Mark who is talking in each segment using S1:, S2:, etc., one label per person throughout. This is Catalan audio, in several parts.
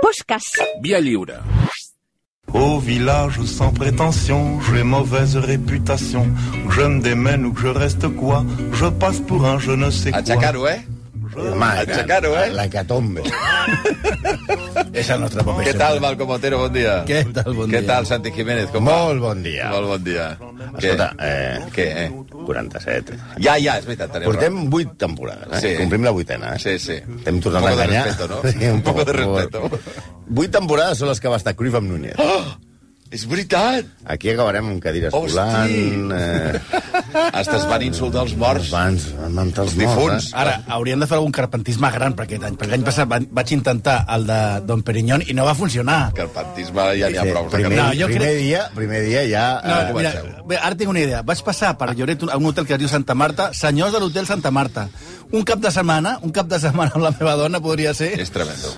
S1: Fosques.
S2: Via lliure.
S3: Au village sans prétention, j'ai mauvaise réputation. Que Je me démène ou que je reste quoi, je passe pour un je ne sais quoi.
S4: Aixecar-ho, eh?
S5: Home,
S4: Aixecar-ho, eh?
S5: La que tombe. és el nostre paper.
S4: Què tal, Malcom Otero? Bon dia.
S5: Què tal, bon
S4: Què
S5: dia?
S4: tal, Santi Jiménez? Com va?
S5: Molt bon dia.
S4: Molt bon dia.
S5: Escolta,
S4: Què?
S5: eh,
S4: Què, eh?
S5: 47.
S4: Ja, ja, és veritat. teniu
S5: Portem 8 temporades, eh?
S4: Sí.
S5: Complim la vuitena,
S4: raó.
S5: eh?
S4: Sí, sí.
S5: Hem tornat
S4: Un
S5: a
S4: poco de
S5: enganyar.
S4: respeto, ¿no?
S5: Sí, un poco
S4: de respeto.
S5: Vuit temporades són les que va estar Cruyff amb Núñez.
S4: Oh! És veritat!
S5: Aquí acabarem amb cadires
S4: Hosti!
S5: volant... Eh,
S4: Hasta es van insultar els morts.
S5: Abans, abans els
S4: difunts.
S5: Morts, eh?
S6: Ara, hauríem de fer algun carpentisme gran per aquest any, perquè l'any passat van- vaig intentar el de Don Perignon i no va funcionar.
S4: Que el pantisme ja n'hi ha prou. de carpet.
S5: primer,
S6: No,
S5: no,
S6: jo
S5: primer,
S6: crec-
S5: dia, primer dia ja...
S6: No,
S5: eh,
S6: mira,
S5: comenceu.
S6: bé, ara tinc una idea. Vaig passar per Lloret, un- a un hotel que es diu Santa Marta, senyors de l'hotel Santa Marta. Un cap de setmana, un cap de setmana amb la meva dona podria ser...
S4: És tremendo.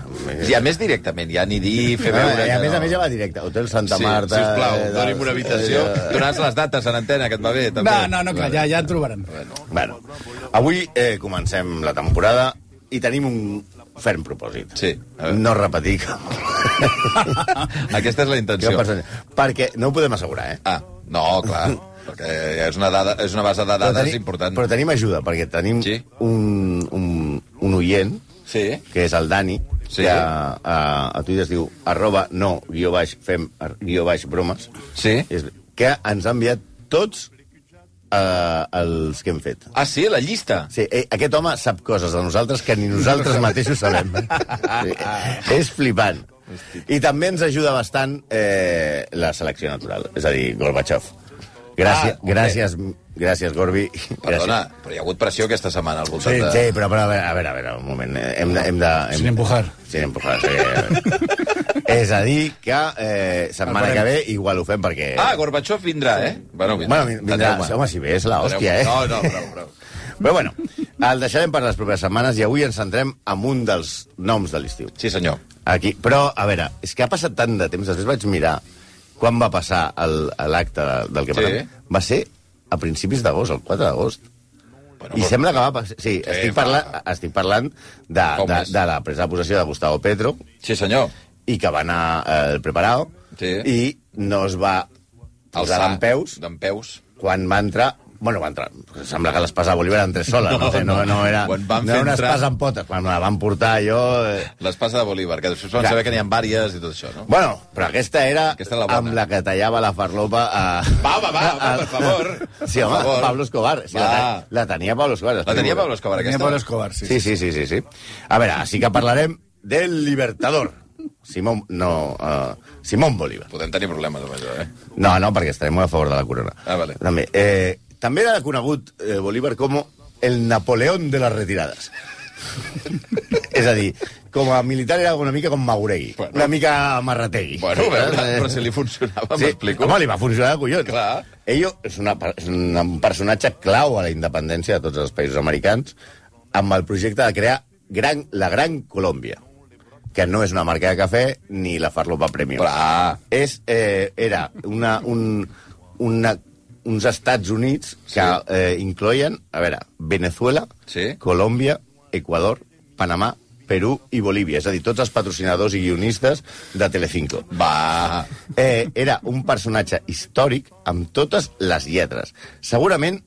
S4: I a més directament, ja ni dir, fer
S5: Ah,
S4: veure...
S5: i a
S4: que
S5: més a
S4: no.
S5: més ja va directe. Hotel Santa
S4: Sí,
S5: Marta...
S4: sisplau,
S5: eh,
S4: doni'm una habitació.
S5: eh,
S4: Donaràs les dates en antena, que et va bé, també.
S6: No, no, no, clar, ja, ja en trobarem.
S5: Bueno, avui eh, comencem la temporada i tenim un ferm propòsit.
S4: Sí, a veure.
S5: No repetir cap.
S4: Aquesta és la
S5: Què
S4: intenció.
S5: passa? Perquè no ho podem assegurar, eh?
S4: Ah, no, clar, perquè és una, dada, és una base de dades
S5: teni-
S4: important.
S5: però tenim ajuda, perquè tenim
S4: Sí.
S5: un, un, un oient,
S4: Sí,
S5: que és el Dani,
S4: Sí.
S5: que a, a, a Twitter es diu arroba no guió baix fem ar- guió baix bromes,
S4: sí.
S5: és, que ens ha enviat tots eh, els que hem fet.
S4: Ah, sí, la llista.
S5: Sí, eh, aquest home sap coses de nosaltres que ni nosaltres mateixos sabem. Sí, és flipant. I també ens ajuda bastant eh, la selecció natural, és a dir, Gorbachev. Gràcies,
S4: Ah,
S5: ah, gràcies, gràcies, Gorbi.
S4: Perdona, però hi ha hagut pressió aquesta setmana al voltant
S5: Sí,
S4: de...
S5: sí, però, però a, veure, a veure, a veure, un moment. eh, Hem de, hem de, hem...
S6: Sin empujar.
S5: Sin empujar, sí. eh, és a dir, que eh, setmana que ve igual ho fem perquè...
S4: Ah, Gorbachev vindrà, eh? Bueno,
S5: bueno, vindrà,
S4: Atendeu-me.
S5: home, si ve és la hòstia, eh?
S4: No, no, prou, prou.
S5: Però bueno, el deixarem per les properes setmanes i avui ens centrem en un dels noms de l'estiu.
S4: Sí, senyor.
S5: Aquí. Però, a veure, és que ha passat tant de temps. Després vaig mirar quan va passar el- l'acte del que
S4: Sí.
S5: parlem. Va ser a principis d'agost, el 4 d'agost.
S4: Bueno,
S5: I
S4: però-
S5: sembla que va passar... Sí, estic,
S4: va.
S5: parlant, estic parlant de,
S4: Com
S5: de,
S4: és?
S5: de la presa de possessió de Gustavo Petro
S4: Sí, senyor.
S5: i que va anar eh, preparado
S4: Sí.
S5: i no es va posar d'empeus
S4: D'en peus.
S5: quan va entrar Bueno, va entrar. Sembla que l'espasa de Bolívar entre sola. No, no, sé, no, no era,
S4: Quan van
S5: no era
S4: fer
S5: una
S4: entrar-
S5: espasa amb potes. Quan me la van portar jo... Eh,
S4: L'espasa de Bolívar, que després van
S5: Clar.
S4: saber que n'hi ha vàries i tot això, no?
S5: Bueno, però aquesta era
S4: Aquesta era la bona.
S5: amb la que tallava la farlopa a...
S4: Va, va, va, va, per favor.
S5: Sí,
S4: Per
S5: home,
S4: favor.
S5: Pablo Escobar. Sí, la,
S4: Va.
S5: te- la tenia Pablo Escobar.
S4: La tenia Pablo Escobar,
S6: Tenia
S4: aquesta?
S6: Pablo Escobar, sí.
S5: Sí, sí, sí, sí, sí. A veure, sí que parlarem del Libertador. Simón, no, uh, Simón Bolívar.
S4: Podem tenir problemes amb això, eh?
S5: No, no, perquè estarem a favor de la corona.
S4: Ah, vale.
S5: També, eh, també era conegut eh, Bolívar com el Napoleón de les retirades. És a dir, com a militar era una mica com Mauregui,
S4: Bueno.
S5: una mica Marrategui.
S4: Bueno, a veure,
S5: Eh,
S4: però si li funcionava, m'explico.
S5: Home, li va funcionar de collons.
S4: Clar.
S5: Ello és, una, per- és un un personatge clau a la independència de tots els països americans amb el projecte de crear gran, la Gran Colòmbia, que no és una marca de cafè ni la Farlopa Premium.
S4: Clar.
S5: És, eh, era una, un, una, uns Estats Units
S4: Sí.
S5: que eh, incloien, a veure, Venezuela,
S4: Sí.
S5: Colòmbia, Equador, Panamà, Perú i Bolívia. És a dir, tots els patrocinadors i guionistes de Telecinco.
S4: Va,
S5: Eh, era un personatge històric amb totes les lletres. Segurament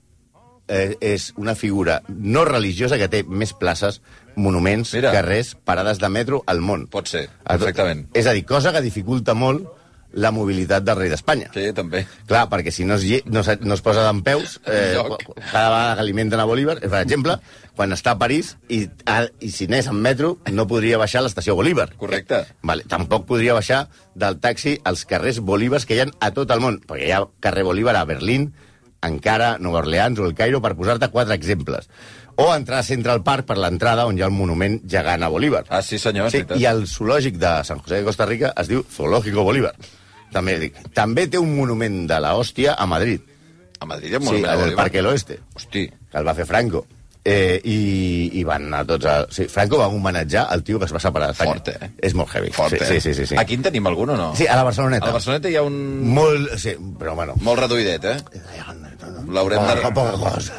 S5: eh, és una figura no religiosa que té més places, monuments,
S4: Mira.
S5: Mira. carrers, parades de metro al món.
S4: pot ser,
S5: A tot-
S4: perfectament.
S5: És a dir, cosa que dificulta molt la mobilitat del rei d'Espanya.
S4: Sí, també.
S5: Clar, perquè si no es, lle- no, se- no es posa d'en peus, eh,
S4: Enlloc.
S5: quan- cada vegada que alimenten a Bolívar, eh, per exemple, quan està a París i, a, i si anés en metro no podria baixar a l'estació Bolívar.
S4: Correcte.
S5: Vale, tampoc podria baixar del taxi als carrers Bolívars que hi ha a tot el món, perquè hi ha carrer Bolívar a Berlín, encara Nova Orleans o el Cairo, per posar-te quatre exemples. O entrar a Central Park per l'entrada on hi ha el monument gegant a Bolívar.
S4: Ah, sí, senyor, és
S5: Sí,
S4: veritat.
S5: I el zoològic de Sant José de Costa Rica es diu Zoológico Bolívar. També, dic, també té un monument de la hòstia a Madrid.
S4: A Madrid hi ha
S5: Sí,
S4: molt
S5: en el Parque del Oeste,
S4: Hosti,
S5: que el va fer Franco. Eh, i, I van anar tots a... Sí, Franco va homenatjar el tio que es va separar d'Espanya.
S4: Fort, eh?
S5: És molt heavy.
S4: fort,
S5: sí,
S4: eh?
S5: sí, sí, sí, sí.
S4: Aquí en tenim algun o no?
S5: Sí, a la Barceloneta.
S4: A la Barceloneta hi ha un...
S5: Molt... Sí, però bueno...
S4: Molt reduïdet, eh? L'haurem de-
S5: Poca, poca cosa.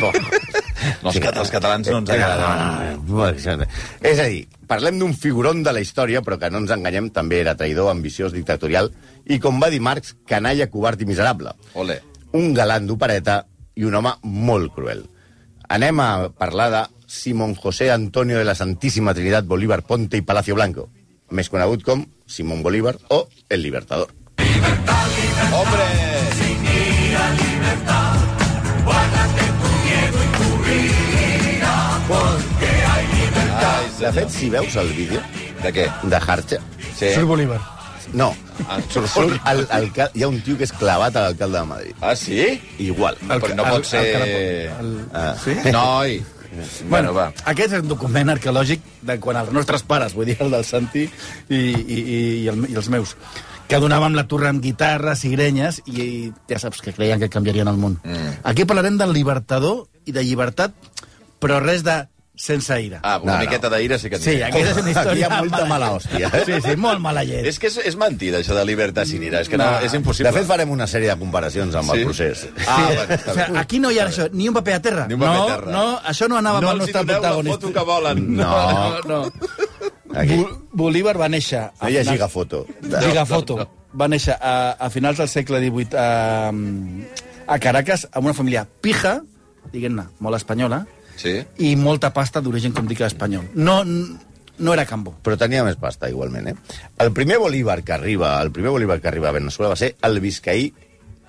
S5: Poca cosa.
S4: No, els, cat els catalans
S5: Eh,
S4: no ens agraden.
S5: Exacte. És a dir, parlem d'un figurón de la història, però que no ens enganyem, també era traïdor, ambiciós, dictatorial, i com va dir Marx, canalla, covard i miserable.
S4: Ole.
S5: Un galant d'opereta i un home molt cruel. Anem a parlar de Simón José Antonio de la Santíssima Trinidad Bolívar Ponte i Palacio Blanco, més conegut com Simón Bolívar o El Libertador.
S4: Hombre! Ai,
S5: De
S4: senyor.
S5: fet, si veus el vídeo
S4: De què?
S5: de Harcha,
S4: Sí.
S1: Surt Bolívar.
S5: no,
S4: Ah,
S5: surt, surt el, el, hi ha un tio que és clavat a l'alcalde de Madrid.
S4: Ah, sí?
S5: Igual.
S4: El, Però no pot ser...
S1: El, el...
S5: Ah.
S4: Noi! Bueno, va.
S6: Aquest és un document arqueològic de quan els nostres pares, vull dir, el del Santi i, i, i, i, el, i els meus, que donàvem la torre amb guitarres i grenyes i, i ja saps que creien que canviarien el món. Mm. Aquí parlarem del libertador i de llibertat, però res de sense ira.
S4: Ah, una
S5: No, no.
S4: miqueta d'ira sí que en
S6: sí,
S4: té.
S6: aquesta és una
S5: Aquí hi
S6: història...
S5: ha molta mala
S6: llet.
S5: hòstia.
S6: Sí, sí, molt mala llet.
S4: eh? És que és, és mentida, això de libertat sin ira. És que no,
S6: No.
S4: és impossible.
S5: De fet, farem una sèrie de comparacions amb
S4: Sí?
S5: el procés.
S4: Ah, bueno,
S6: o
S4: està bé.
S6: sigui, aquí no hi ha això, ni un paper a terra.
S4: Ni un paper
S6: no,
S4: a terra.
S6: no, això no anava
S4: no
S6: pel
S4: els hi
S6: nostre
S4: doneu la
S6: protagonista.
S4: foto que volen.
S5: Ah, No,
S6: no, no.
S5: aquí.
S6: Bo- Bolívar va néixer...
S5: No hi ha gigafoto.
S6: Gigafoto. Va néixer a, a finals del segle XVIII a, a Caracas amb una família pija, diguem-ne, molt espanyola,
S4: Sí?
S6: i molta pasta d'origen, com dic, espanyol. No, no era Cambo.
S5: Però tenia més pasta, igualment, eh? El primer Bolívar que arriba, el primer Bolívar que arriba a Venezuela va ser el biscaí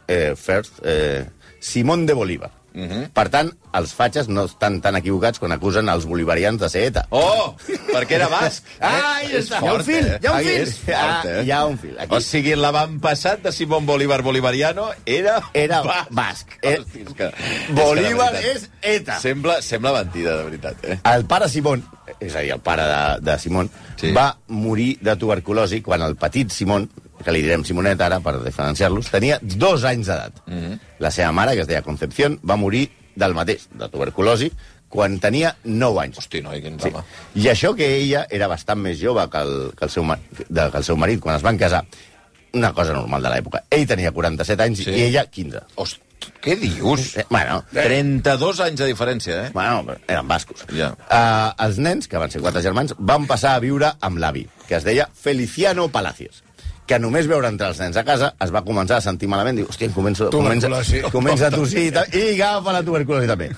S5: eh, first, eh, Simón de Bolívar. Uh
S4: Mhm.
S5: -huh. Per tant, els fatxes no estan tan equivocats quan acusen els bolivarians de ser ETA.
S4: Oh! Perquè era basc.
S5: Ah,
S4: Eh?
S5: ja
S4: És
S5: està.
S4: fort,
S5: Hi ha un fil,
S4: eh?
S5: hi ha un
S4: Aquí
S5: fil.
S4: és Fort, eh?
S5: Ah, hi ha un fil, aquí.
S4: O sigui, l'avantpassat de Simón Bolívar Bolivariano era...
S5: Era basc. Eh,
S4: Hosti, és que- és que de
S5: Bolívar
S4: veritat.
S5: és ETA.
S4: Sembla, sembla mentida, de veritat, eh?
S5: El pare Simón, és a dir, el pare de, de Simón,
S4: Sí.
S5: sí. va morir de tuberculosi quan el petit Simón, que li direm Simonet ara per diferenciar-los, tenia dos anys d'edat. Mm -hmm. La seva mare, que es deia Concepción, va morir del mateix, de tuberculosi, quan tenia 9 anys.
S4: Hosti, noi, quin
S5: Sí.
S4: drama.
S5: I això que ella era bastant més jove que el, que el, seu, ma- de, que el seu marit quan es van casar, una cosa normal de l'època. Ell tenia 47 anys
S4: Sí.
S5: sí. i ella 15.
S4: Hosti, què dius?
S5: Eh, bueno,
S4: 32 anys de diferència, eh?
S5: Bueno, però eren bascos.
S4: Ja.
S5: Uh, els nens, que van ser quatre germans, van passar a viure amb l'avi, que es deia Feliciano Palacios que només veure entrar els nens a casa es va començar a sentir malament, diu, hòstia, em començo, comença,
S1: Tuberculosi.
S5: comença a tossir i, tal, i agafa la tuberculosi també.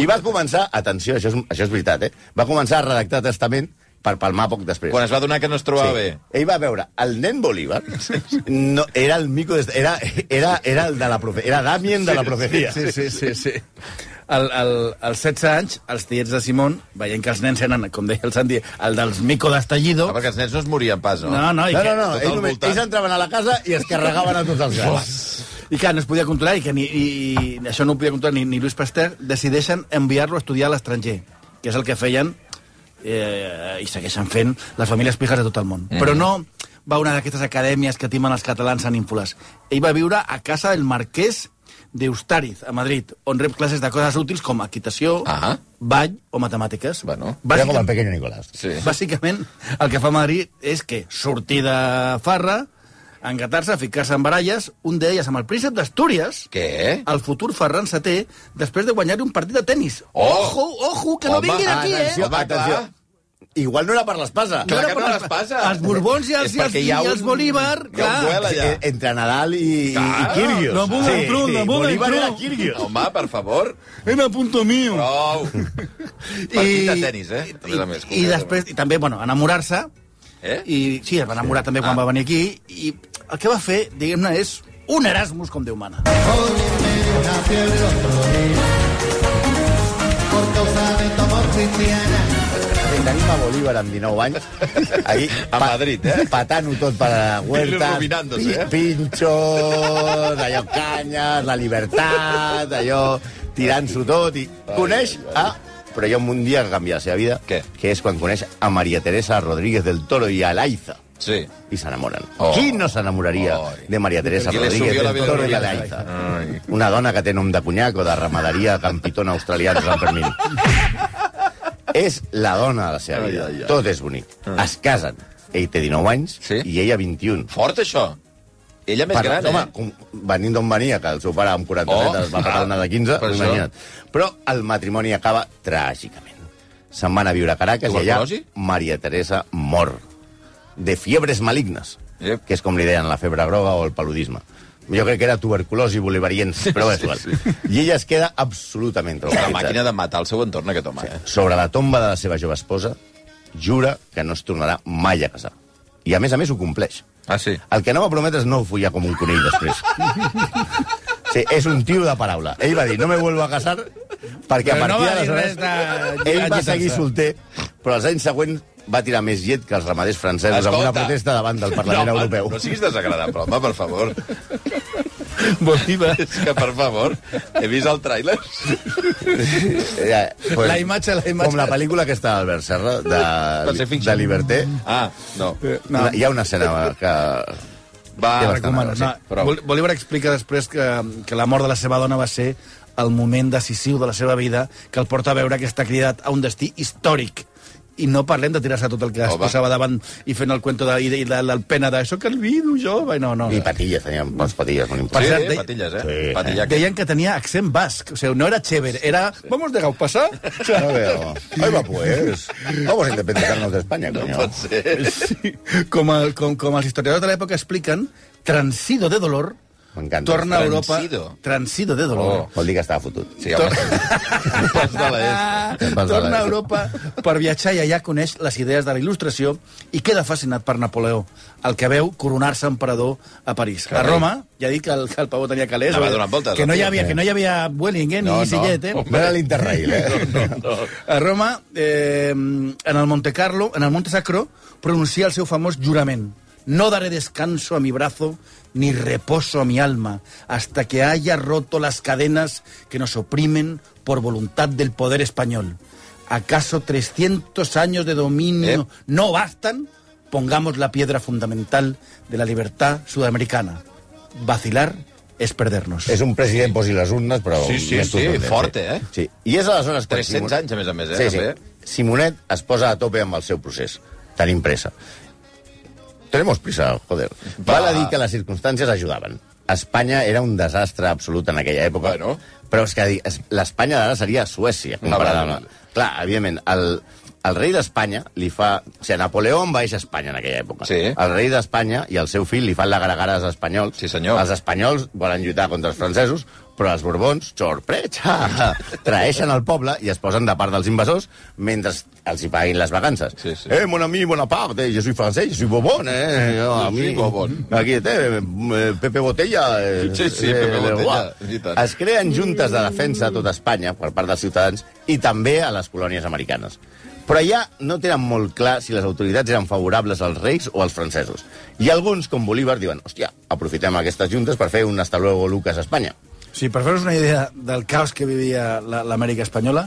S5: I va començar, atenció, això és, això és veritat, eh? va començar a redactar testament per palmar poc després.
S4: Quan es va donar que no es trobava sí. bé.
S5: Ell va veure el nen Bolívar, no, era el mico, de, era, era, era el de la profe, era Damien de la profecia.
S6: Sí, sí, sí. sí. Al, al, als 16 anys, els tiets de Simón, veient que els nens eren, com deia el Santi, el dels mico d'estallido...
S4: Ah, perquè els nens no es morien pas, no?
S6: No, no, i
S5: No, no,
S6: que,
S5: no,
S4: Tot
S5: ells,
S4: al
S5: només,
S4: voltant.
S5: ells entraven a la casa i es carregaven a tots els gats.
S6: I que no es podia controlar, i que ni, i, i això no ho podia controlar ni, ni Luis Pasteur, decideixen enviar-lo a estudiar a l'estranger, que és el que feien eh, i segueixen fent les famílies pijes de tot el món. Mm. Però no va a una d'aquestes acadèmies que timen els catalans anímfoles. Ell va viure a casa del marquès d'Eustàriz, a Madrid, on rep classes de coses útils com equitació,
S4: Ah.
S6: ball o matemàtiques.
S4: Bueno,
S5: Era com el
S6: Bàsicament-
S5: pequeño Nicolás.
S4: Sí.
S6: Bàsicament, el que fa Madrid és que sortir de farra, engatar-se, ficar-se en baralles, un d'elles amb el príncep d'Astúries,
S4: Què?
S6: el futur Ferran Seté, després de guanyar-li un partit de tennis.
S4: Oh!
S6: Ojo, ojo, que no
S4: Home,
S6: vinguin aquí,
S4: atenció,
S6: eh?
S4: Home, clar.
S5: Igual no era per l'espasa.
S4: Clar
S6: era
S4: que
S6: per
S4: no
S6: les-
S4: l'espasa.
S6: Els Borbons i els,
S4: És
S6: i els,
S4: perquè hi
S6: i
S4: ha
S6: els
S4: un-
S6: Bolívar,
S4: hi ha un
S6: clar.
S4: duel. allà.
S5: Eh, Entre Nadal i,
S4: Clar.
S5: i Kirgios.
S6: No, moment, Trun, no, moment,
S5: Bolívar era
S6: Trun.
S5: Kirgios.
S4: Home, per favor.
S6: En a punto mío.
S4: Prou. Partit de tenis, eh? A més a més,
S6: I, i després, i també, bueno, enamorar-se,
S4: Eh?
S6: i sí, es va enamorar també quan
S4: Ah.
S6: va venir aquí, i el que va fer, diguem-ne, és un Erasmus com Déu mana.
S5: Sí, Tenim a Bolívar amb 19 anys. Ahí,
S4: A Madrid, eh?
S5: Patant-ho tot per a huertas,
S4: Il·luminándose, eh?
S5: pinxos, allò, canyes, la libertat, allò, tirant-s'ho tot. I coneix a... Però hi ha un dia que canvia la seva vida,
S4: Què?
S5: que és quan coneix a Maria Teresa Rodríguez del Toro i a Laiza.
S4: Sí.
S5: i s'enamoren.
S4: Oh.
S5: Oh. Qui no s'enamoraria
S4: Oh.
S5: de Maria Teresa
S4: Qui le
S5: Rodríguez
S4: subió la
S5: del Toro i la
S4: vida.
S5: Laiza?
S4: Ai.
S5: Una dona que té nom de cunyac o de ramaderia campitona australiana San Fermín. és la dona de la seva
S4: Ai,
S5: vida.
S4: ai, ai.
S5: Tot és bonic. Es casen. Ell té 19 anys
S4: Sí.
S5: i ella 21.
S4: Fort, això. Ella més gran,
S5: home,
S4: eh?
S5: com, venint d'on venia, que el seu pare amb 40
S4: Oh,
S5: oh, metres va patar
S4: clar,
S5: una de 15,
S4: per això.
S5: imagina't. Però el matrimoni acaba tràgicament. Se'n van a viure a Caracas i allà
S4: Tuberculosi?
S5: Maria Teresa mor de fiebres malignes,
S4: Ep.
S5: que és com li deien la febre groga o el paludisme. Jo crec que era tuberculosi bolivariens, però és
S4: sí,
S5: igual.
S4: sí.
S5: I ella es queda absolutament
S4: És una
S5: traumatitzada.
S4: màquina de matar el seu entorn, aquest home. Eh?
S5: sobre la tomba de la seva jove esposa, jura que no es tornarà mai a casar. I, a més a més, ho compleix.
S4: Ah, sí.
S5: El que no va prometre és no follar com un conill després. Sí, és un tio de paraula. Ell va dir, no me vuelvo a casar, perquè
S1: Però no
S5: a partir
S1: va dir
S5: d'aleshores...
S1: res de-
S5: Ell va
S1: agitar-se.
S5: seguir solter, però els anys següents va tirar més llet que els ramaders francesos amb una
S4: Escolta.
S5: protesta davant del Parlament
S4: no, home,
S5: Europeu.
S4: No siguis desagradable, home, per favor.
S6: Bolívar.
S4: És que, per favor, he vist el tràiler.
S5: Eh, Ja, pues,
S1: La imatge, la imatge.
S5: Com la pel·lícula aquesta d'Albert Serra, de,
S4: Pacific
S5: de Liberté,
S4: Ah, no.
S1: Eh,
S5: no. hi ha una escena que...
S4: Va,
S5: Ja bastant.
S6: Recomano,
S5: Sí,
S6: no,
S4: prou.
S6: Bol- Bolívar explica després que, que la mort de la seva dona va ser el moment decisiu de la seva vida que el porta a veure que està cridat a un destí històric. I no parlem de tirar-se tot el que es
S4: Home.
S6: posava davant i fent el cuento de, i de, i de, del pena de això que olvido jo... Bé, No, no.
S5: I patilles, teníem bons patilles, molt
S4: Sí,
S5: importants.
S6: cert,
S4: eh?
S6: de-
S4: patilles, eh?
S5: Sí.
S4: Patilla.
S6: Deien que tenia accent basc, o sigui, no era chéver, era... Vamos, dejau passar. O sigui,
S5: No veo. Ahí va, pues. Vamos a independizarnos de España, coño.
S4: Pot ser.
S6: Sí, com, el, com, com els historiadors de l'època expliquen, transido de dolor,
S5: M'encanta. Oh,
S6: torna a Europa...
S4: Transido.
S6: Transido de dolor.
S5: Vol dir que estava fotut.
S4: Sí, home. Pas de l'est.
S5: Te'n vas de
S6: Torna a
S5: la-
S6: Europa per viatjar i allà coneix les idees de la il·lustració i queda fascinat per Napoleó, el que veu coronar-se emperador a París. A
S4: Carai.
S6: Roma, ja dic que el, que el pavó tenia calés,
S4: Anava donant voltes,
S6: que, no
S4: el
S6: hi
S4: tio.
S6: havia, que no hi havia Vueling eh, ni
S4: No, no.
S6: Sillet, eh?
S5: No era l'Interrail, eh?
S6: A Roma, eh, en el Monte Carlo, en el Monte Sacro, pronuncia el seu famós jurament. No daré descanso a mi brazo ni reposo a mi alma hasta que haya roto las cadenas que nos oprimen por voluntad del poder español. ¿Acaso 300 años de dominio
S4: Eh.
S6: no bastan? Pongamos la piedra fundamental de la libertad sudamericana. Vacilar es perdernos.
S5: És un president posi les urnes, però...
S4: Sí, sí,
S5: més
S4: sí,
S5: contundent,
S4: fort, eh?
S5: Sí. I és aleshores... quan
S4: 300 anys, a més a més, eh,
S5: Sí,
S4: també.
S5: sí. Simonet es posa a tope amb el seu procés. Tenim pressa. Tenemos prisa, joder.
S4: Va.
S5: Val a dir que les circumstàncies ajudaven. Espanya era un desastre absolut en aquella època.
S4: Bueno.
S5: Però és que es- l'Espanya d'ara seria Suècia, comparada
S4: vale.
S5: amb... la- Clar, evidentment, el, el rei d'Espanya li fa... O sigui, Napoleó envaeix Espanya en aquella època.
S4: Sí.
S5: El rei d'Espanya i el seu fill li fan la garagara als espanyols.
S4: Sí, senyor.
S5: Els espanyols volen lluitar contra els francesos, però els borbons, sorpresa, traeixen el poble i es posen de part dels invasors mentre els hi paguin les vacances.
S4: Sí, sí.
S5: Eh, mon ami, bona part, eh, jo soy francès, jo soy bobon, eh, jo, a mi...
S4: Sí, bobon.
S5: Aquí té, eh, Pepe Botella... Eh,
S4: Sí, sí, Pepe
S5: eh,
S4: Botella,
S5: uah.
S4: i tant.
S5: Es creen juntes de defensa a tota Espanya per part dels ciutadans i també a les colònies americanes. Però ja no tenen molt clar si les autoritats eren favorables als reis o als francesos. I alguns, com Bolívar, diuen hòstia, aprofitem aquestes juntes per fer un hasta luego Lucas a Espanya.
S6: Sí, per fer-vos una idea del caos que vivia la- l'Amèrica espanyola,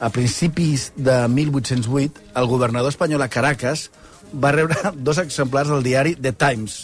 S6: a principis de 1808, el governador espanyol a Caracas va rebre dos exemplars del diari The Times,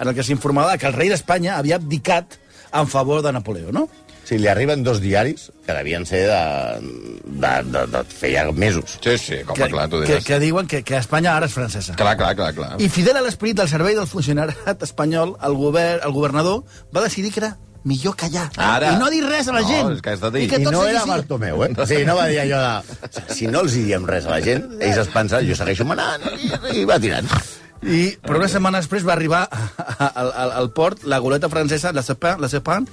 S6: en el que s'informava que el rei d'Espanya havia abdicat en favor de Napoleó, no?
S5: O sigui, li arriben dos diaris que devien ser de, de, de, de feia mesos.
S4: Sí, sí, com que, Ah, clar, tu
S6: que,
S4: diràs.
S6: que diuen que, que Espanya ara és francesa.
S4: Clar, clar, clar, clar.
S6: I fidel a l'esperit del servei del funcionariat espanyol, el, govern, el governador va decidir que era millor callar
S4: Ara.
S6: i no dir res a la
S4: No,
S6: gent.
S4: és que has de dir.
S6: I que
S5: I
S6: tot
S5: no era
S6: seguís-
S5: Bartomeu, eh? Sí, no va dir allò de... Si no els hi diem res a la gent, ells es pensen, jo segueixo manant, i, i va tirant.
S6: I, però una setmana després va arribar al, al, al port la goleta francesa, la Cepin, la Cepin,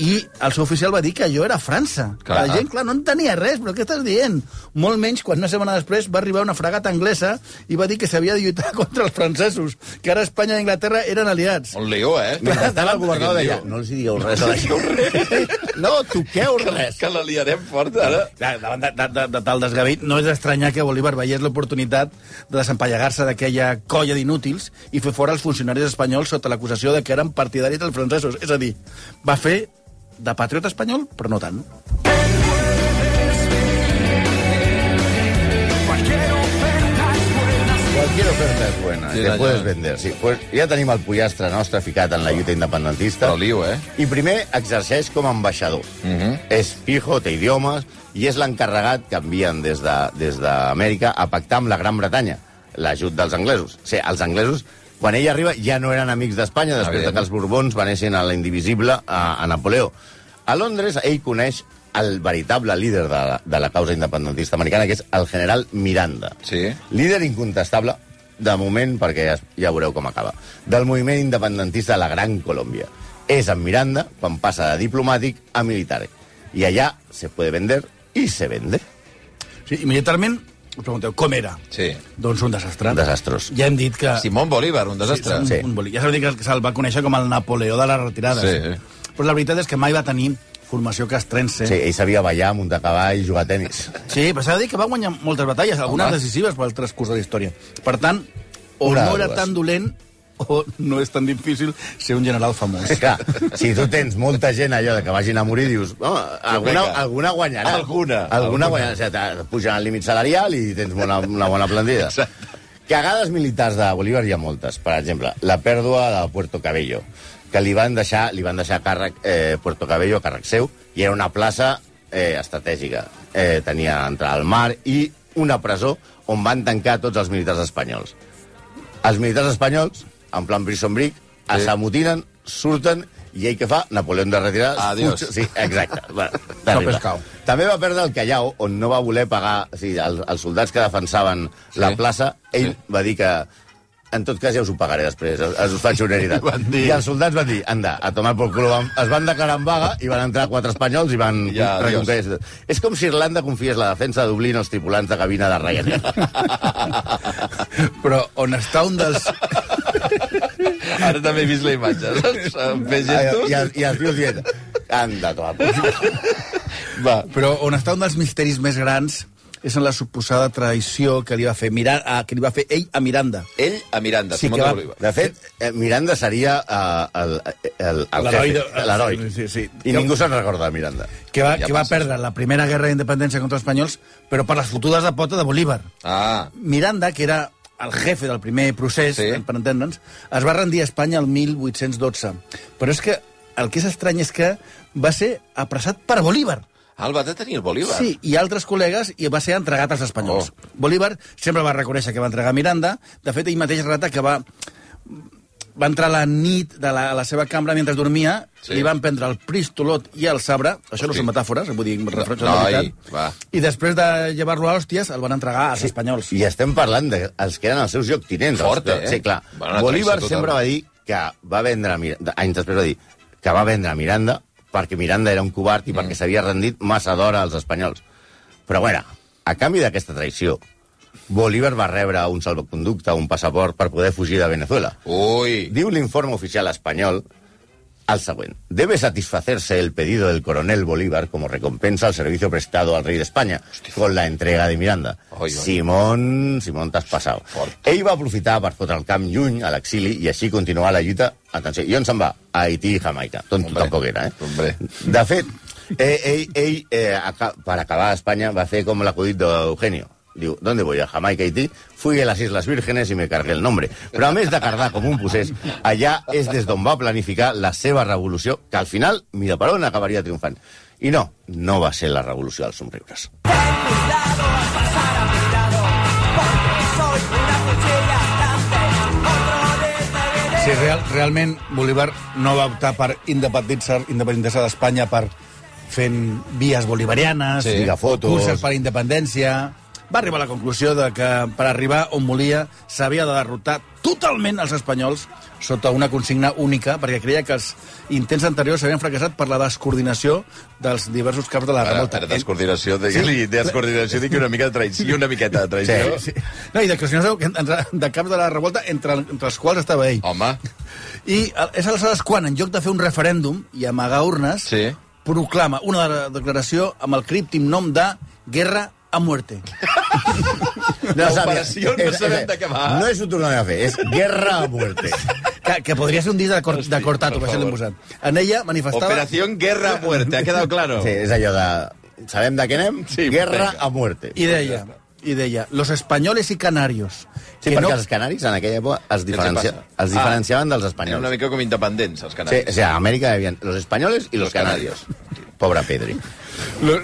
S6: i el seu oficial va dir que allò era França.
S4: Clar.
S6: La gent, clar, no entenia res, però què estàs dient? Molt menys quan una setmana després va arribar una fregata anglesa i va dir que s'havia de lluitar contra els francesos, que ara Espanya i Anglaterra eren aliats.
S4: Un lío, eh?
S5: Mentrestant el
S4: Què en
S5: governador deia,
S4: diu?
S5: no els hi digueu res a la gent. No toqueu res.
S4: Que la liarem fort, ara.
S6: Clar, davant de, de, de, de tal desgavit, no és d'estranyar que Bolívar veiés l'oportunitat de desempallegar-se d'aquella colla d'inútils i fer fora els funcionaris espanyols sota l'acusació de que eren partidaris dels francesos. És a dir, va fer de patriota espanyol, però no tant.
S5: Cualquier oferta es buena,
S4: Sí,
S5: te
S4: senyor.
S5: puedes vender. Sí, pues ja tenim el pollastre nostre ficat en la lluita independentista.
S4: Però lío, eh?
S5: I primer exerceix com a ambaixador.
S4: Mhm.
S5: És fijo, té idiomes, i és l'encarregat que envien des de- des d'Amèrica de, a pactar amb la Gran Bretanya l'ajut dels anglesos. O sigui, els anglesos Quan ell arriba ja no eren amics d'Espanya, després de que els Borbons veneixin a la indivisible a, a Napoleó. A Londres ell coneix el veritable líder de la, de la causa independentista americana, que és el general Miranda.
S4: Sí.
S5: Líder incontestable, de moment, perquè ja, ja veureu com acaba, del moviment independentista de la Gran Colòmbia. És en Miranda quan passa de diplomàtic a militar. I allà se puede vender i se vende.
S6: Sí, immediatament us pregunteu com era.
S4: Sí.
S6: Doncs un desastre.
S5: Desastrós.
S6: Ja hem dit que...
S4: Simón Bolívar, un desastre.
S5: Sí.
S6: Ah. Sí, un, un boli. Ja s'ha dit que se'l va conèixer com el Napoleó de les retirades.
S4: Sí.
S6: Però la veritat és que mai va tenir formació castrense.
S5: Sí, ell sabia ballar, muntar a cavall, jugar a tennis.
S6: Sí, però s'ha de dir que va guanyar moltes batalles, algunes
S4: Home.
S6: decisives pel transcurs de la història. Per tant, o
S5: Una de
S6: no era
S5: dues.
S6: tan dolent o no és tan difícil ser un general famós.
S5: És clar, si tu tens molta gent allò de que vagin a morir, dius, oh, alguna,
S4: Vinga.
S5: alguna guanyarà.
S4: Alguna.
S5: Alguna guanyarà. O sigui, t'ha- pugen al límit salarial i tens una, una bona plantilla. Cagades militars de Bolívar hi ha moltes. Per exemple, la pèrdua de Puerto Cabello, que li van deixar, li van deixar a càrrec, eh, Puerto Cabello a càrrec seu, i era una plaça eh, estratègica. Eh, tenia entrada al mar i una presó on van tancar tots els militars espanyols els militars espanyols, en plan Prison Break, sí. s'amotinen, surten, i ell què fa? Napoleó de retirar...
S4: Adiós.
S5: Sí, exacte. Bueno, terrible.
S6: pescau.
S5: També va perdre el Callao, on no va voler pagar... O sigui, el, els soldats que defensaven sí. la plaça, ell
S4: Sí.
S5: sí. va dir que en tot cas ja us ho pagaré després, us, us faig una
S6: I van
S5: heritat.
S6: dir-
S5: I els soldats van dir, anda, a tomar por culo. Van- Es van declarar en vaga i van entrar quatre espanyols i van
S4: Ja, adiós.
S5: reconquerir és, és com si Irlanda confiés la defensa de Dublín als tripulants de cabina de Ryanair.
S6: Però on està un dels...
S4: Ara també he vist la imatge. saps? Em Ve gestos... Ah.
S5: I, els- i els dius dient, anda, toma.
S4: Va.
S6: Però on està un dels misteris més grans és en la suposada traïció que li va fer, Mira... a, que li va fer ell a Miranda.
S4: Ell a Miranda,
S6: Sí,
S4: Simón
S6: que
S4: de
S6: va-
S4: Bolívar.
S5: De fet, eh, Miranda seria eh, el, el, el
S6: L'heroi
S5: jefe,
S6: de-
S5: l'heroi.
S6: sí, sí.
S5: I ningú se'n recorda de Miranda.
S6: Que va,
S4: Ja
S6: que va
S4: passa.
S6: perdre la primera guerra d'independència contra els espanyols, però per les fotudes de pota de Bolívar.
S4: Ah,
S6: Miranda, que era el jefe del primer procés,
S4: Sí.
S6: sí. per entendre'ns, es va rendir a Espanya el 1812. Però és que el que és estrany és que va ser apressat per Bolívar.
S4: ah, el va detenir el Bolívar.
S6: Sí, i altres col·legues i va ser entregat als espanyols.
S4: Oh.
S6: Oh. Bolívar sempre va reconèixer que va entregar Miranda. De fet, ell mateix relata que va, va entrar la nit de la, a la seva cambra mentre dormia,
S4: Sí.
S6: sí. li van prendre el pristolot i el sabre, això no
S4: Hosti.
S6: són metàfores, vull dir, em refreixo
S4: No,
S6: de
S4: ai,
S6: veritat,
S4: va.
S6: i després de llevar-lo a hòsties el van entregar als espanyols.
S5: I estem parlant dels que eren els seus lloctinents.
S4: Fort,
S5: Els-
S4: eh?
S5: Sí, clar.
S4: Bueno, una
S5: Bolívar
S4: traïció
S5: sempre
S4: total.
S5: va dir que va vendre... a Miranda, anys després va dir que va vendre a Miranda perquè Miranda era un covard
S4: Mm.
S5: i perquè s'havia rendit massa d'hora als espanyols. Però, bueno, a canvi d'aquesta traïció, Bolívar va rebre un salvoconducte, un passaport per poder fugir de Venezuela.
S4: Ui,
S5: Diu l'informe oficial español al següent. Debe satisfacerse el pedido del coronel Bolívar como recompensa al servicio prestado al rey de España con la entrega de Miranda.
S4: Ai, ai.
S5: Simón, Simón, t'has passat.
S4: Fort.
S5: Ell va aprofitar per fotre el camp lluny a l'exili i així continuar la lluita. Atenció, i on se'n va? A Haití i Jamaica. Tonto
S4: Hombre.
S5: tampoc era, eh?
S4: Hombre.
S5: De fet, eh, ell, ell eh, aca per acabar a Espanya va fer com l'acudit d'Eugenio. Diu, ¿dónde voy? A Jamaica, Haití. Fui a las Islas Vírgenes i me cargué el nombre. Però a més de cardar com un procés, allà és des d'on va planificar la seva revolució, que al final, mira per on acabaria triomfant. I no, no va ser la revolució dels somriures.
S6: Sí, real, realment Bolívar no va optar per independitzar- independitzar-se d'Espanya per fent vies bolivarianes,
S4: Sí.
S5: Fotos.
S6: curses per la independència... Va arribar a la conclusió de que per arribar on volia s'havia de derrotar totalment els espanyols sota una consigna única, perquè creia que els intents anteriors s'havien fracassat per la descoordinació dels diversos caps de la
S4: Ara,
S6: revolta.
S4: ara descoordinació, digue-li, descoordinació, digue una mica de traïció, i una miqueta de traïció.
S5: Sí,
S6: No, i descoordinació entre- de caps de la revolta entre, entre els quals estava ell.
S4: Home,
S6: I al- és aleshores quan, en lloc de fer un referèndum i amagar urnes,
S4: Sí.
S6: proclama una de- declaració amb el críptim nom de Guerra a Muerte.
S5: No
S4: operació no
S5: és- és-
S4: sabem de què va.
S5: No és un tornar a fer, és guerra a muerte.
S6: Que, que podria ser un disc de, cor, de
S4: per
S6: cortato, per això l'hem
S4: favor.
S6: posat. En ella manifestava...
S4: operación guerra a muerte, ha quedado claro?
S5: Sí, és allò de... Sabem de què anem?
S4: Sí,
S5: guerra
S4: vinga.
S5: a muerte.
S6: I deia, i deia, los españoles y canarios.
S5: Sí,
S6: que
S5: perquè
S6: no-
S5: els canaris en aquella època es, diferencia,
S4: passa?
S5: es diferenciaven dels
S4: Eren
S5: espanyols.
S4: una mica com independents, els
S5: Sí, o
S4: canaris.
S5: sigui, a Amèrica hi havia los españoles i los,
S4: Los
S5: canarios. Pobre Pedri.
S6: Los,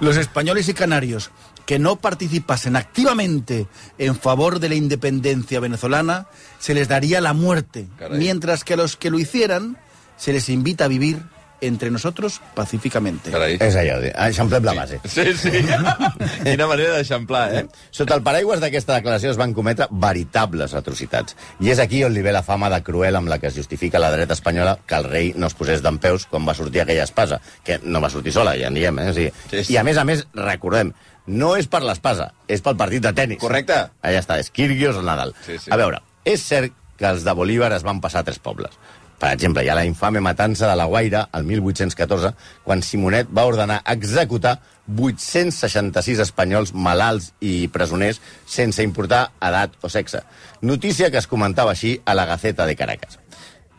S6: los españoles y canarios que no participasen activamente en favor de la independencia venezolana, se les daría la muerte,
S4: Caray.
S6: mientras que a los que lo hicieran se les invita a vivir entre nosotros pacíficamente.
S4: Carai.
S5: És allò, de- eixamplem la base.
S4: Sí, sí. Quina manera d'eixamplar, eh?
S5: Sota el paraigües d'aquesta declaració es van cometre veritables atrocitats. I és aquí on li ve la fama de cruel amb la que es justifica la dreta espanyola que el rei no es posés d'en peus quan va sortir aquella espasa, que no va sortir sola, ja en diem, eh? O sigui,
S4: Sí, sí.
S5: I a més a més, recordem, no és per l'espasa, és pel partit de tennis.
S4: Correcte.
S5: Allà està, és Kyrgios Nadal.
S4: Sí, sí.
S5: A veure, és cert que els de Bolívar es van passar a tres pobles. Per exemple, hi ha la infame matança de la Guaira el 1814, quan Simonet va ordenar executar 866 espanyols malalts i presoners sense importar edat o sexe. Notícia que es comentava així a la Gaceta de Caracas.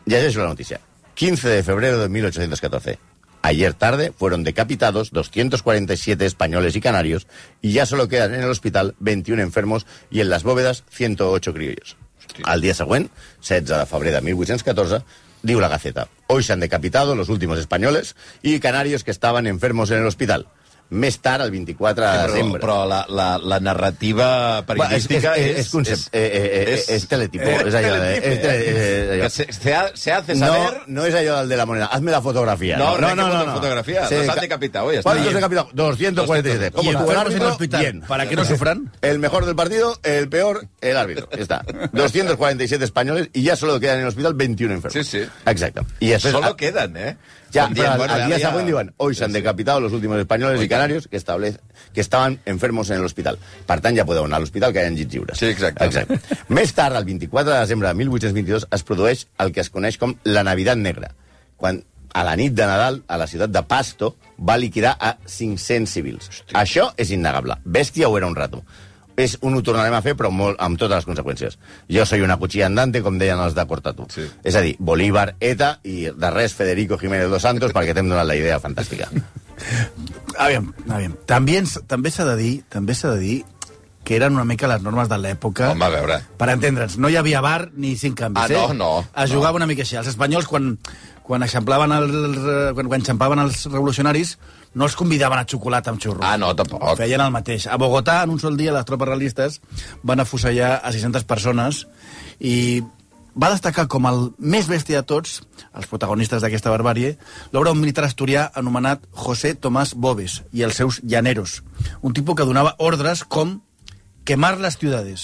S5: Llegeixo la noticia. 15 de febrero de 1814. Ayer tarde fueron decapitados 247 españoles y canarios y ya solo quedan en el hospital 21 enfermos y en las bóvedas 108 criollos. Al día següent, 16 de febrer de 1814, diu la Gaceta, hoy se han decapitado los últimos españoles y canarios que estaban enfermos en el hospital. Més tard, el 24 de
S4: Però,
S5: desembre.
S4: però la, la, la narrativa
S5: Ah, Bueno, és, és,
S4: periodística
S5: és, és, concep... és, eh, eh, eh, és, teletipo. és allò, de-
S4: teletipo,
S5: és, tele- eh, allò.
S4: Que se, se, ha- se hace
S5: No,
S4: saber...
S5: no es ayuda al de la moneda. Hazme la fotografía.
S4: No, no hay que poner fotografía. Los han
S5: ca-
S4: decapitado, oye, está
S5: ¿Cuántos
S4: bien.
S5: han decapitado? 247.
S6: Y
S5: ¿Cómo está?
S6: enfermos en
S5: árbitro,
S6: el hospital,
S5: bien.
S6: para que no sufran.
S5: El mejor del partido, el peor, el árbitro. Ya Está. 247 españoles y ya solo quedan en el hospital 21 enfermos.
S4: Sí, sí.
S5: Exacto. Y eso es-
S4: Solo queden, eh?
S5: Ya,
S4: Com
S5: pero
S4: dient,
S5: al,
S4: bueno,
S5: al
S4: ja
S5: día
S4: havia-
S5: següent diuen, hoy se han
S4: Sí, sí.
S5: decapitado los últimos españoles y canarios que, establec... que estaven enfermos en el hospital. Per tant, ja podeu anar a l'hospital que hi ha llits lliures.
S4: Sí, exacte.
S5: exacte. Més tard, el 24 de desembre de 1822, es produeix el que es coneix com la Navidad Negra, quan a la nit de Nadal, a la ciutat de Pasto, va liquidar a 500 civils. Hosti. Això és innegable. Bèstia o era un rato. És un ho tornarem a fer, però molt, amb totes les conseqüències. Jo soy una cuchilla andante, com deien els de Cortatu.
S4: Sí.
S5: És a dir, Bolívar, ETA i de res Federico Jiménez dos Santos perquè t'hem donat la idea fantàstica.
S6: Aviam, aviam. També, ens, també s'ha de dir també s'ha de dir que eren una mica les normes de l'època.
S4: Home, a veure.
S6: Per entendre'ns, no hi havia bar ni cinc canvis.
S4: Ah, no,
S6: eh?
S4: no,
S6: Es
S4: no.
S6: jugava una mica així. Els espanyols, quan, quan, eixamplaven els, quan, quan eixamplaven els revolucionaris, no els convidaven a xocolata amb xurros.
S4: Ah, no, tampoc.
S6: Feien el mateix. A Bogotà, en un sol dia, les tropes realistes van afusellar a 600 persones i va destacar com el més bèstia de tots, els protagonistes d'aquesta barbàrie, l'obra d'un militar asturià anomenat José Tomás Boves i els seus llaneros, un tipus que donava ordres com quemar les ciudades,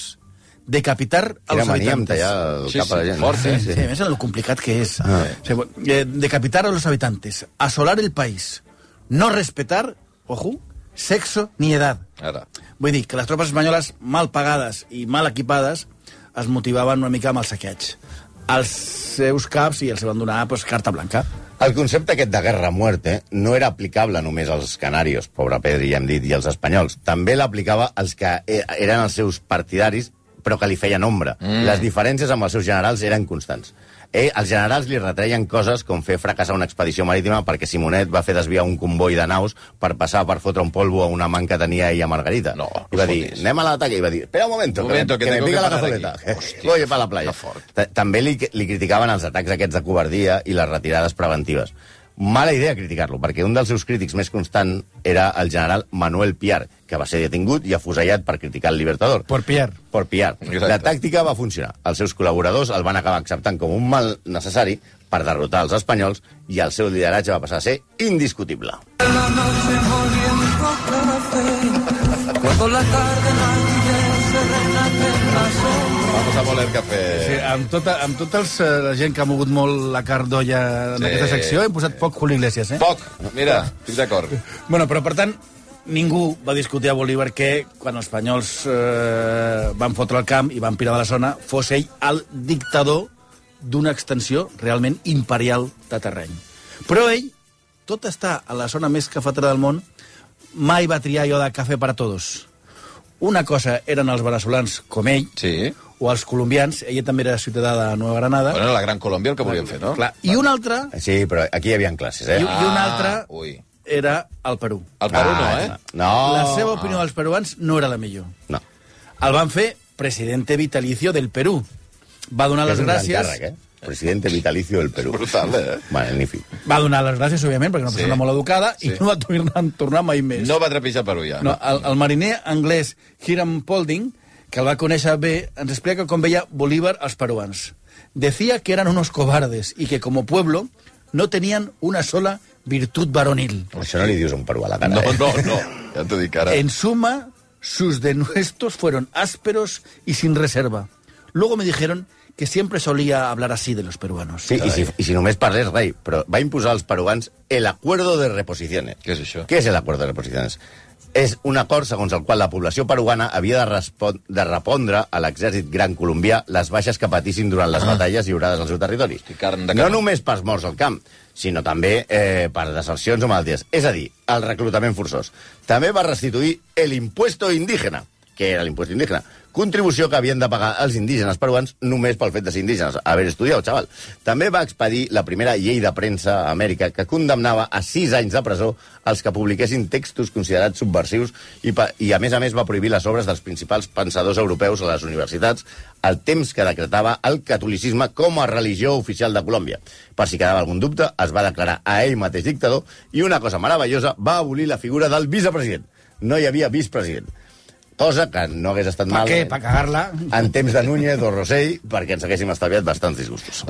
S6: decapitar a
S5: Era
S6: los
S5: mania amb
S6: habitantes...
S5: tallar el
S4: Sí,
S5: cap a la
S4: sí,
S5: gent.
S4: fort, eh?
S6: Sí, a més, lo complicat que és.
S5: Ah.
S6: O sigui, eh, decapitar a los habitantes, asolar el país, no respetar, ojo, sexo ni edad.
S4: Ara.
S6: Vull dir que les tropes espanyoles mal pagades i mal equipades es motivaven una mica amb el saqueig. Els seus caps i els van donar pues, carta blanca.
S5: El concepte aquest de guerra-muerte no era aplicable només als canarios, pobre Pedri, ja hem dit, i als espanyols. També l'aplicava als que eh, eren els seus partidaris, però que li feien ombra. Mm. Les diferències amb els seus generals eren constants. Eh, els generals li retreien coses com fer fracassar una expedició marítima perquè Simonet va fer desviar un comboi de naus per passar per fotre un polvo a una man que tenia ella a Margarita.
S4: No,
S5: I va
S4: no
S5: dir,
S4: fotis.
S5: anem a l'atac, i va dir, espera un moment, que,
S4: Un momento,
S5: que,
S4: que
S5: me
S4: tengo
S5: pica
S4: que
S5: la
S4: parar aquí.
S5: cazoleta.
S4: Hòstia,
S5: Voy pa la playa.
S4: que fort.
S5: Ta- També li, li criticaven els atacs aquests de covardia i les retirades preventives. Mala idea criticar-lo, perquè un dels seus crítics més constant era el general Manuel Piar, que va ser detingut i afusellat per criticar el Libertador.
S6: Por piar.
S5: Por Piar.
S4: Exacte.
S5: La tàctica va funcionar. Els seus col·laboradors el van acabar acceptant com un mal necessari per derrotar els espanyols i el seu lideratge va passar a ser indiscutible.
S1: la noche moliendo café, cuando la tarde languidece renace en la sombra.
S4: Vamos a voler cafè.
S6: Sí, amb tota, amb tota els, eh, la gent que ha mogut molt la cardolla en
S4: Sí.
S6: aquesta secció, hem posat foc Julio Iglesias, eh?
S4: Poc, mira, estic d'acord.
S6: Bueno, però per tant, ningú va discutir a Bolívar que quan els espanyols eh, van fotre el camp i van pirar de la zona, fos ell el dictador d'una extensió realment imperial de terreny. Però ell, tot està a la zona més cafetera del món, mai va triar allò de cafè per a tots. Una cosa eren els veneçolans com ell,
S4: Sí.
S6: o els colombians, ella també era ciutadà de Nova Granada,
S4: Bueno, la Gran Colòmbia el que volíem fer, no?
S6: clar, i una altra,
S5: Sí, però aquí hi havia classes, eh?
S6: i, i una
S4: Ah,
S6: altra
S4: ui.
S6: era el Perú.
S4: El Perú
S5: Ah,
S4: no, eh?
S5: No.
S6: La seva opinió dels peruans no era la millor.
S5: No.
S6: El van fer presidente vitalicio del Perú. Va donar
S5: És
S6: les
S5: un gran
S6: gràcies
S5: càrrec, eh? presidente vitalicio del Perú.
S4: Brutal, eh?
S5: Magnífic.
S6: Va donar les gràcies, òbviament, perquè era una
S4: Sí.
S6: persona molt educada i
S4: Sí.
S6: no va tornar, tornar mai més.
S4: No va trepitjar Perú ja.
S6: No, el, el mariner anglès Hiram Polding, que el va conèixer bé, ens explica com veia Bolívar als peruans. Decía que eran unos cobardes y que como pueblo no tenían una sola virtud varonil.
S5: Això no li dius a un peruà a la cara,
S4: No,
S5: eh?
S4: no, no. Ja t'ho dic ara.
S6: En suma, sus denuestos fueron ásperos y sin reserva. Luego me dijeron que siempre solía hablar así de los peruanos.
S5: Sí, i si, i si només parlés rei, però va imposar als peruans el acuerdo de reposiciones.
S4: Què és això?
S5: Què és el acord de reposiciones? És un acord segons el qual la població peruana havia de, respon- de repondre a l'exèrcit gran colombià les baixes que patissin durant les batalles lliurades al seu territori.
S4: Hosti, Ah. carn de
S5: No
S4: canó.
S5: només pels morts al camp, sinó també eh, per desercions o malalties. És a dir, el reclutament forçós. També va restituir el impuesto indígena, que era l'impuesto indígena, contribució que havien de pagar els indígenes peruans només pel fet de ser indígenes, haver estudiat, xaval. També va expedir la primera llei de premsa a Amèrica que condemnava a sis anys de presó els que publiquessin textos considerats subversius i, pa- i a més a més va prohibir les obres dels principals pensadors europeus a les universitats al temps que decretava el catolicisme com a religió oficial de Colòmbia. Per si quedava algun dubte, es va declarar a ell mateix dictador i una cosa meravellosa, va abolir la figura del vicepresident. No hi havia vicepresident. Cosa que no hagués estat
S6: ¿Para
S5: mal
S6: qué? ¿Para cagarla?
S4: Ah.
S5: en temps de Núñez o Rosell perquè ens haguéssim estalviat bastants disgustos.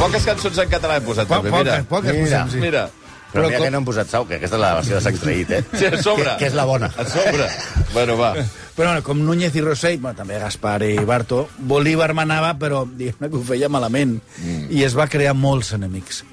S4: Poques cançons en català he posat,
S2: Po-
S4: també, mira.
S2: poques, poques,
S5: mira.
S2: posem, sí.
S4: Mira,
S5: Però,
S2: Però
S5: mira
S2: com-
S5: que no hem posat sau, que aquesta és la versió de Sang Traït, eh?
S4: Sí, a sobre.
S5: Que, que és la bona.
S4: a sobre. Bueno, va.
S6: Però bueno, com Núñez i Rossell, bueno, també Gaspar i Barto, Bolívar manava, però diguem-ne que ho feia malament. Mm. I es va crear molts enemics.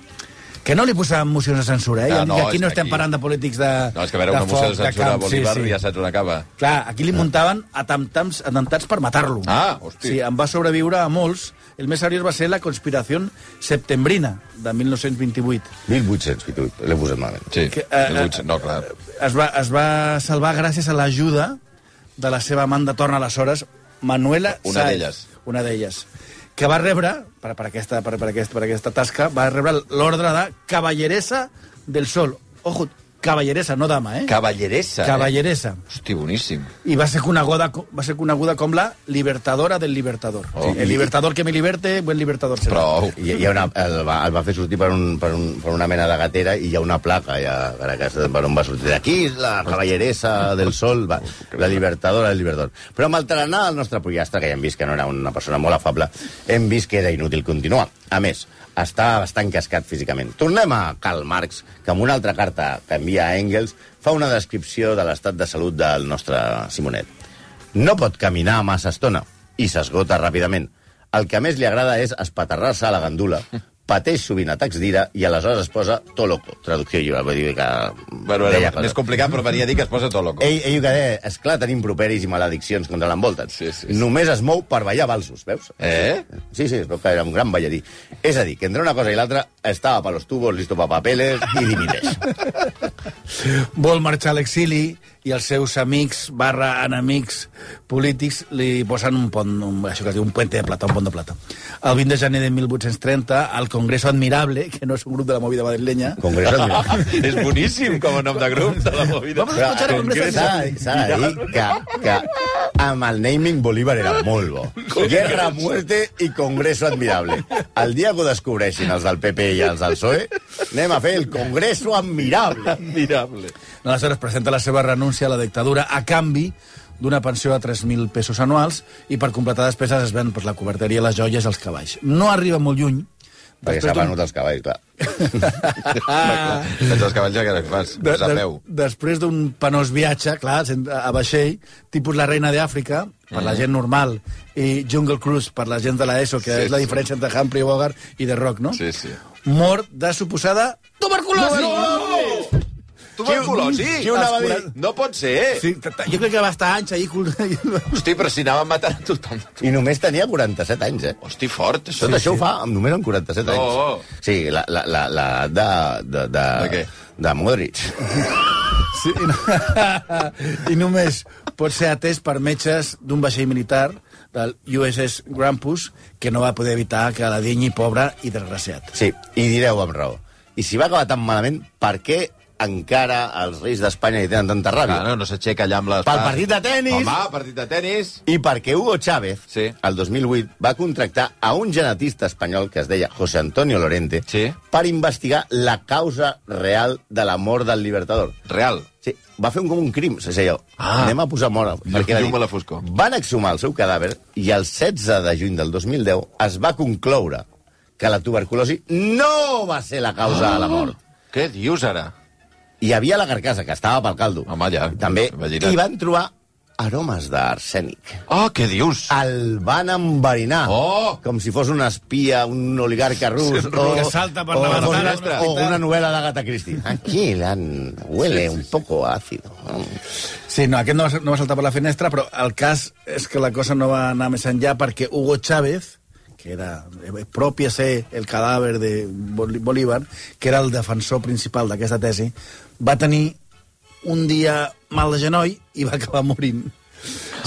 S6: Que no li posaven mocions de censura, eh?
S4: Ah,
S6: Ja,
S4: no,
S6: no, aquí
S4: és
S6: no estem
S4: aquí.
S6: parlant de polítics de
S4: No, és que a veure,
S6: de
S4: una moció de
S6: foc,
S4: censura a
S6: camp,
S4: Bolívar ja saps on acaba.
S6: Clar, aquí li muntaven atemptats, atemptats per matar-lo.
S4: Ah, hosti.
S6: Sí, en va sobreviure a molts. El més seriós va ser la conspiració septembrina de 1928.
S5: 1828, l'he posat malament.
S4: Sí,
S6: Que, eh,
S4: el Lutz- no, clar.
S6: es va, es va salvar gràcies a l'ajuda de la seva amant de torn aleshores, Manuela
S4: Una
S6: Sáez.
S4: d'elles.
S6: Una d'elles. Que va rebre, per, per, aquesta, per, per, aquesta, per aquesta tasca, va rebre l'ordre de cavalleresa del sol. Ojo, cavalleresa, no dama, eh?
S4: Cavalleresa.
S6: Cavalleresa.
S4: Eh? Hosti, boníssim.
S6: I va ser, coneguda, co- va ser coneguda com la libertadora del libertador.
S4: Oh.
S6: El libertador que me liberte, buen libertador será.
S4: Prou.
S5: Hi, hi ha una, el, va, el va fer sortir per, un, per, un, per una mena de gatera i hi ha una placa ja, per, aquesta, per on va sortir. Aquí és la cavalleresa del sol, va, la libertadora del libertador. Però amb el tarannà del nostre pollastre, que ja hem vist que no era una persona molt afable, hem vist que era inútil continuar. A més, està bastant cascat físicament. Tornem a Karl Marx, que amb una altra carta que envia a Engels fa una descripció de l'estat de salut del nostre Simonet. No pot caminar massa estona i s'esgota ràpidament. El que més li agrada és espaterrar-se a la gandula, pateix sovint atacs d'ira i aleshores es posa to loco. Traducció lliure, vull dir que...
S4: Bueno,
S5: deia
S4: era
S5: coses.
S4: més complicat, però venia a dir que es posa tot
S6: Eh,
S4: loco.
S5: Ell, ell ho que deia, esclar, tenim properis i malediccions contra l'envolten.
S4: Sí, sí, sí.
S5: Només es mou per ballar balsos, veus?
S4: Eh?
S5: Sí, sí, es veu que era un gran ballarí. És a dir, que entre una cosa i l'altra estava per los tubos, listo pa papeles i dimiteix.
S6: vol marxar a l'exili i els seus amics barra enemics polítics li posen un pont, un, això que es diu un puente de plata, un pont de plata. El 20 de gener de 1830, al Congreso Admirable, que no és un grup de la movida madrileña,
S5: Congreso admirable.
S4: És boníssim com a nom de grup de la movida.
S6: Vamos a escuchar el Congreso
S5: S'ha de- s'ha de dir que, que amb el naming Bolívar era molt bo. Guerra, muerte i congreso admirable. El dia que ho descobreixin els del PP i els del PSOE, E, anem a fer el congreso admirable.
S4: Admirable.
S6: aleshores presenta la seva renúncia a la dictadura a canvi d'una pensió de 3.000 pesos anuals i per completar despeses es ven doncs, la coberteria, les joies i els cavalls. No arriba molt lluny.
S5: Perquè s'ha
S6: d'un-
S5: venut els cavalls, clar.
S4: Ah. Tens els cavalls ja que fas,
S6: De,
S4: a
S6: de,
S4: peu.
S6: després d'un penós viatge, clar, sent- a a vaixell, tipus la reina d'Àfrica, per
S4: Mm.
S6: la gent normal, i Jungle Cruise per la gent de l'ESO, que
S4: Sí,
S6: és la
S4: sí.
S6: diferència entre Humphrey Bogart i The Rock, no?
S4: Sí, sí.
S6: Mort de suposada tuberculosi!
S4: Tuberculosi?
S6: Qui ho anava a dir?
S4: No pot ser.
S6: Sí, t- t- jo crec que va estar anys ahir... col-
S4: Hosti, però si anaven matant a tothom.
S5: I només tenia 47 anys, eh?
S4: Hosti, fort, això.
S5: Tot això ho fa amb només amb
S4: Oh,
S5: 47 anys.
S4: No.
S5: Sí, la, la, la, la de, de, de,
S4: De què?
S5: de Modric.
S6: Sí, i, no... I només pot ser atès per metges d'un vaixell militar, del USS Grampus, que no va poder evitar que la dinyi pobre i desgraciat.
S5: Sí, i direu amb raó. I si va acabar tan malament, per què encara els reis d'Espanya hi tenen tanta ràbia.
S4: Ah, no, no s'aixeca allà amb les...
S5: Pel partit de tenis.
S4: Home, partit de tenis.
S5: I perquè Hugo Chávez,
S4: Sí.
S5: el 2008, va contractar a un genetista espanyol que es deia José Antonio Lorente
S4: Sí.
S5: per investigar la causa real de la mort del Libertador.
S4: Real.
S5: Sí, va fer un, com un crim, és allò.
S4: Ah.
S5: Anem a posar mort. va
S4: llum a la foscor.
S5: Van exhumar el seu cadàver i el 16 de juny del 2010 es va concloure que la tuberculosi no va ser la causa ah. de la mort.
S4: Què dius ara?
S5: Hi havia la carcassa, que estava pel caldo.
S4: Home, ja.
S5: També.
S4: Imagina't.
S5: I van trobar aromes d'arsènic.
S4: Oh, què dius?
S5: El van enverinar.
S4: Oh!
S5: Com si fos un espia, un oligarca rus.
S4: Sí,
S5: o,
S6: que salta per
S5: o,
S6: davant,
S5: fos
S4: per
S5: una,
S4: davant.
S5: o una novel·la d'Agatha Christie. Aquí l'han... Huele un poco ácido.
S6: Sí, no, aquest no va, sal- no va saltar per la finestra, però el cas és que la cosa no va anar més enllà perquè Hugo Chávez, que era eh, propi a ser el cadàver de Boli- Bolívar, que era el defensor principal d'aquesta tesi, va tenir un dia mal de genoll i va acabar morint.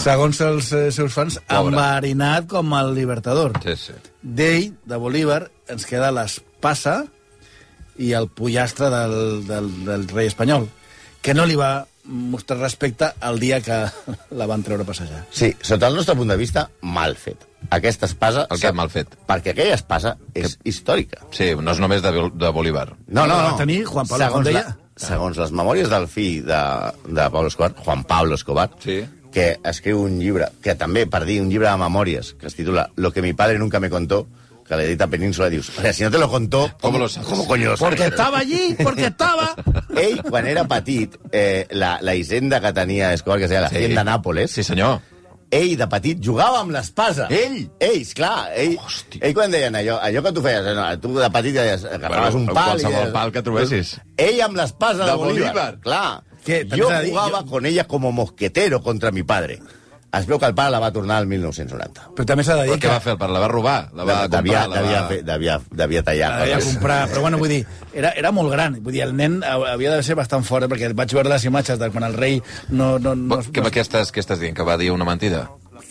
S6: Segons els eh, seus fans,
S4: Pobre.
S6: enverinat com el Libertador.
S4: Sí, sí.
S6: D'ell, de Bolívar, ens queda l'espasa i el pollastre del, del, del rei espanyol, que no li va mostrar respecte el dia que la van treure a passejar.
S5: Sí, sota el nostre punt de vista, mal fet. Aquesta espasa...
S4: El que mal fet.
S5: Perquè aquella espasa és històrica.
S4: Sí, no és només de, Bol- de Bolívar.
S5: No, no, no.
S6: Va tenir Juan Pablo
S5: segons
S6: Escobar.
S5: segons les memòries del fill de, de Pablo Escobar, Juan Pablo Escobar,
S4: Sí.
S5: que escriu un llibre, que també, per dir, un llibre de memòries, que es titula Lo que mi padre nunca me contó, que l'edita Península, dius, o sea, si no te lo contó,
S4: ¿Cómo lo sabes?
S5: ¿Cómo coño lo sabes?
S6: Porque estaba allí, porque estaba...
S5: Ell, quan era petit, eh, la, la hisenda que tenia Escobar, que es deia la
S4: Sí.
S5: sí. Hacienda Nàpoles,
S4: Sí, senyor.
S5: ell de petit jugava amb l'espasa.
S4: Ell?
S5: Ell, esclar. Ell,
S4: Hòstia.
S5: ell quan deien allò, allò que tu feies, no, tu de petit ja deies, agafaves
S4: Bueno,
S5: un pal... i
S4: qualsevol
S5: deies-
S4: pal que trobessis.
S5: Ell amb l'espasa de,
S4: De
S5: Bolívar.
S4: Bolívar.
S5: Clar.
S6: Que, també
S5: jo
S6: t'ha de dir,
S5: jugava
S6: jo-
S5: con ella como mosquetero contra mi padre. Es veu que el pare la va tornar al 1990.
S6: Però també s'ha de
S4: Però
S6: dir
S4: què
S6: que...
S4: va fer el pare? La va robar? La va comprar?
S5: devia,
S4: la
S5: devia,
S4: va...
S5: fer- devia, devia tallar.
S6: Havia de comprar, però bueno, vull dir, era, era molt gran. Vull dir, el nen ha- havia de ser bastant fort, eh, perquè vaig veure les imatges de quan el rei no... no, no,
S4: Bo- Què, què, estàs, què estàs dient? Que va dir una mentida?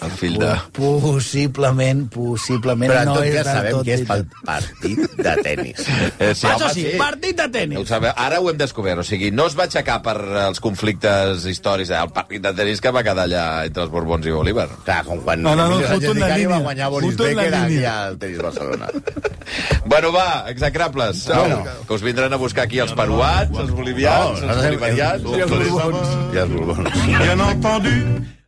S4: El fill de...
S6: Possiblement, possiblement
S5: Però en
S6: no
S5: tot
S6: és
S5: cas
S6: del
S5: sabem
S6: tot
S5: que és
S6: dit.
S5: pel partit de tennis.
S4: Eh,
S5: Ah,
S4: sí,
S6: Això
S4: home,
S6: sí, partit de
S4: Ho
S6: tenis.
S4: sabeu, ara ho hem descobert, o sigui, no es va aixecar per eh, els conflictes històrics, eh, el partit de tenis que va quedar allà entre els Borbons i Bolívar.
S5: Clar, com quan
S6: No, no, no,
S5: Emilio Sánchez
S6: foto en la
S5: Vicario va
S6: línia.
S5: guanyar Boris
S6: Foto en la
S5: Becker aquí
S6: línia.
S5: al Tenis Barcelona.
S4: Bueno, va, execrables, Au,
S5: Bueno.
S4: que us vindran a buscar aquí els peruans, els bolivians, els bolivarians...
S5: I els Borbons. I els Borbons.
S3: Bien entendu,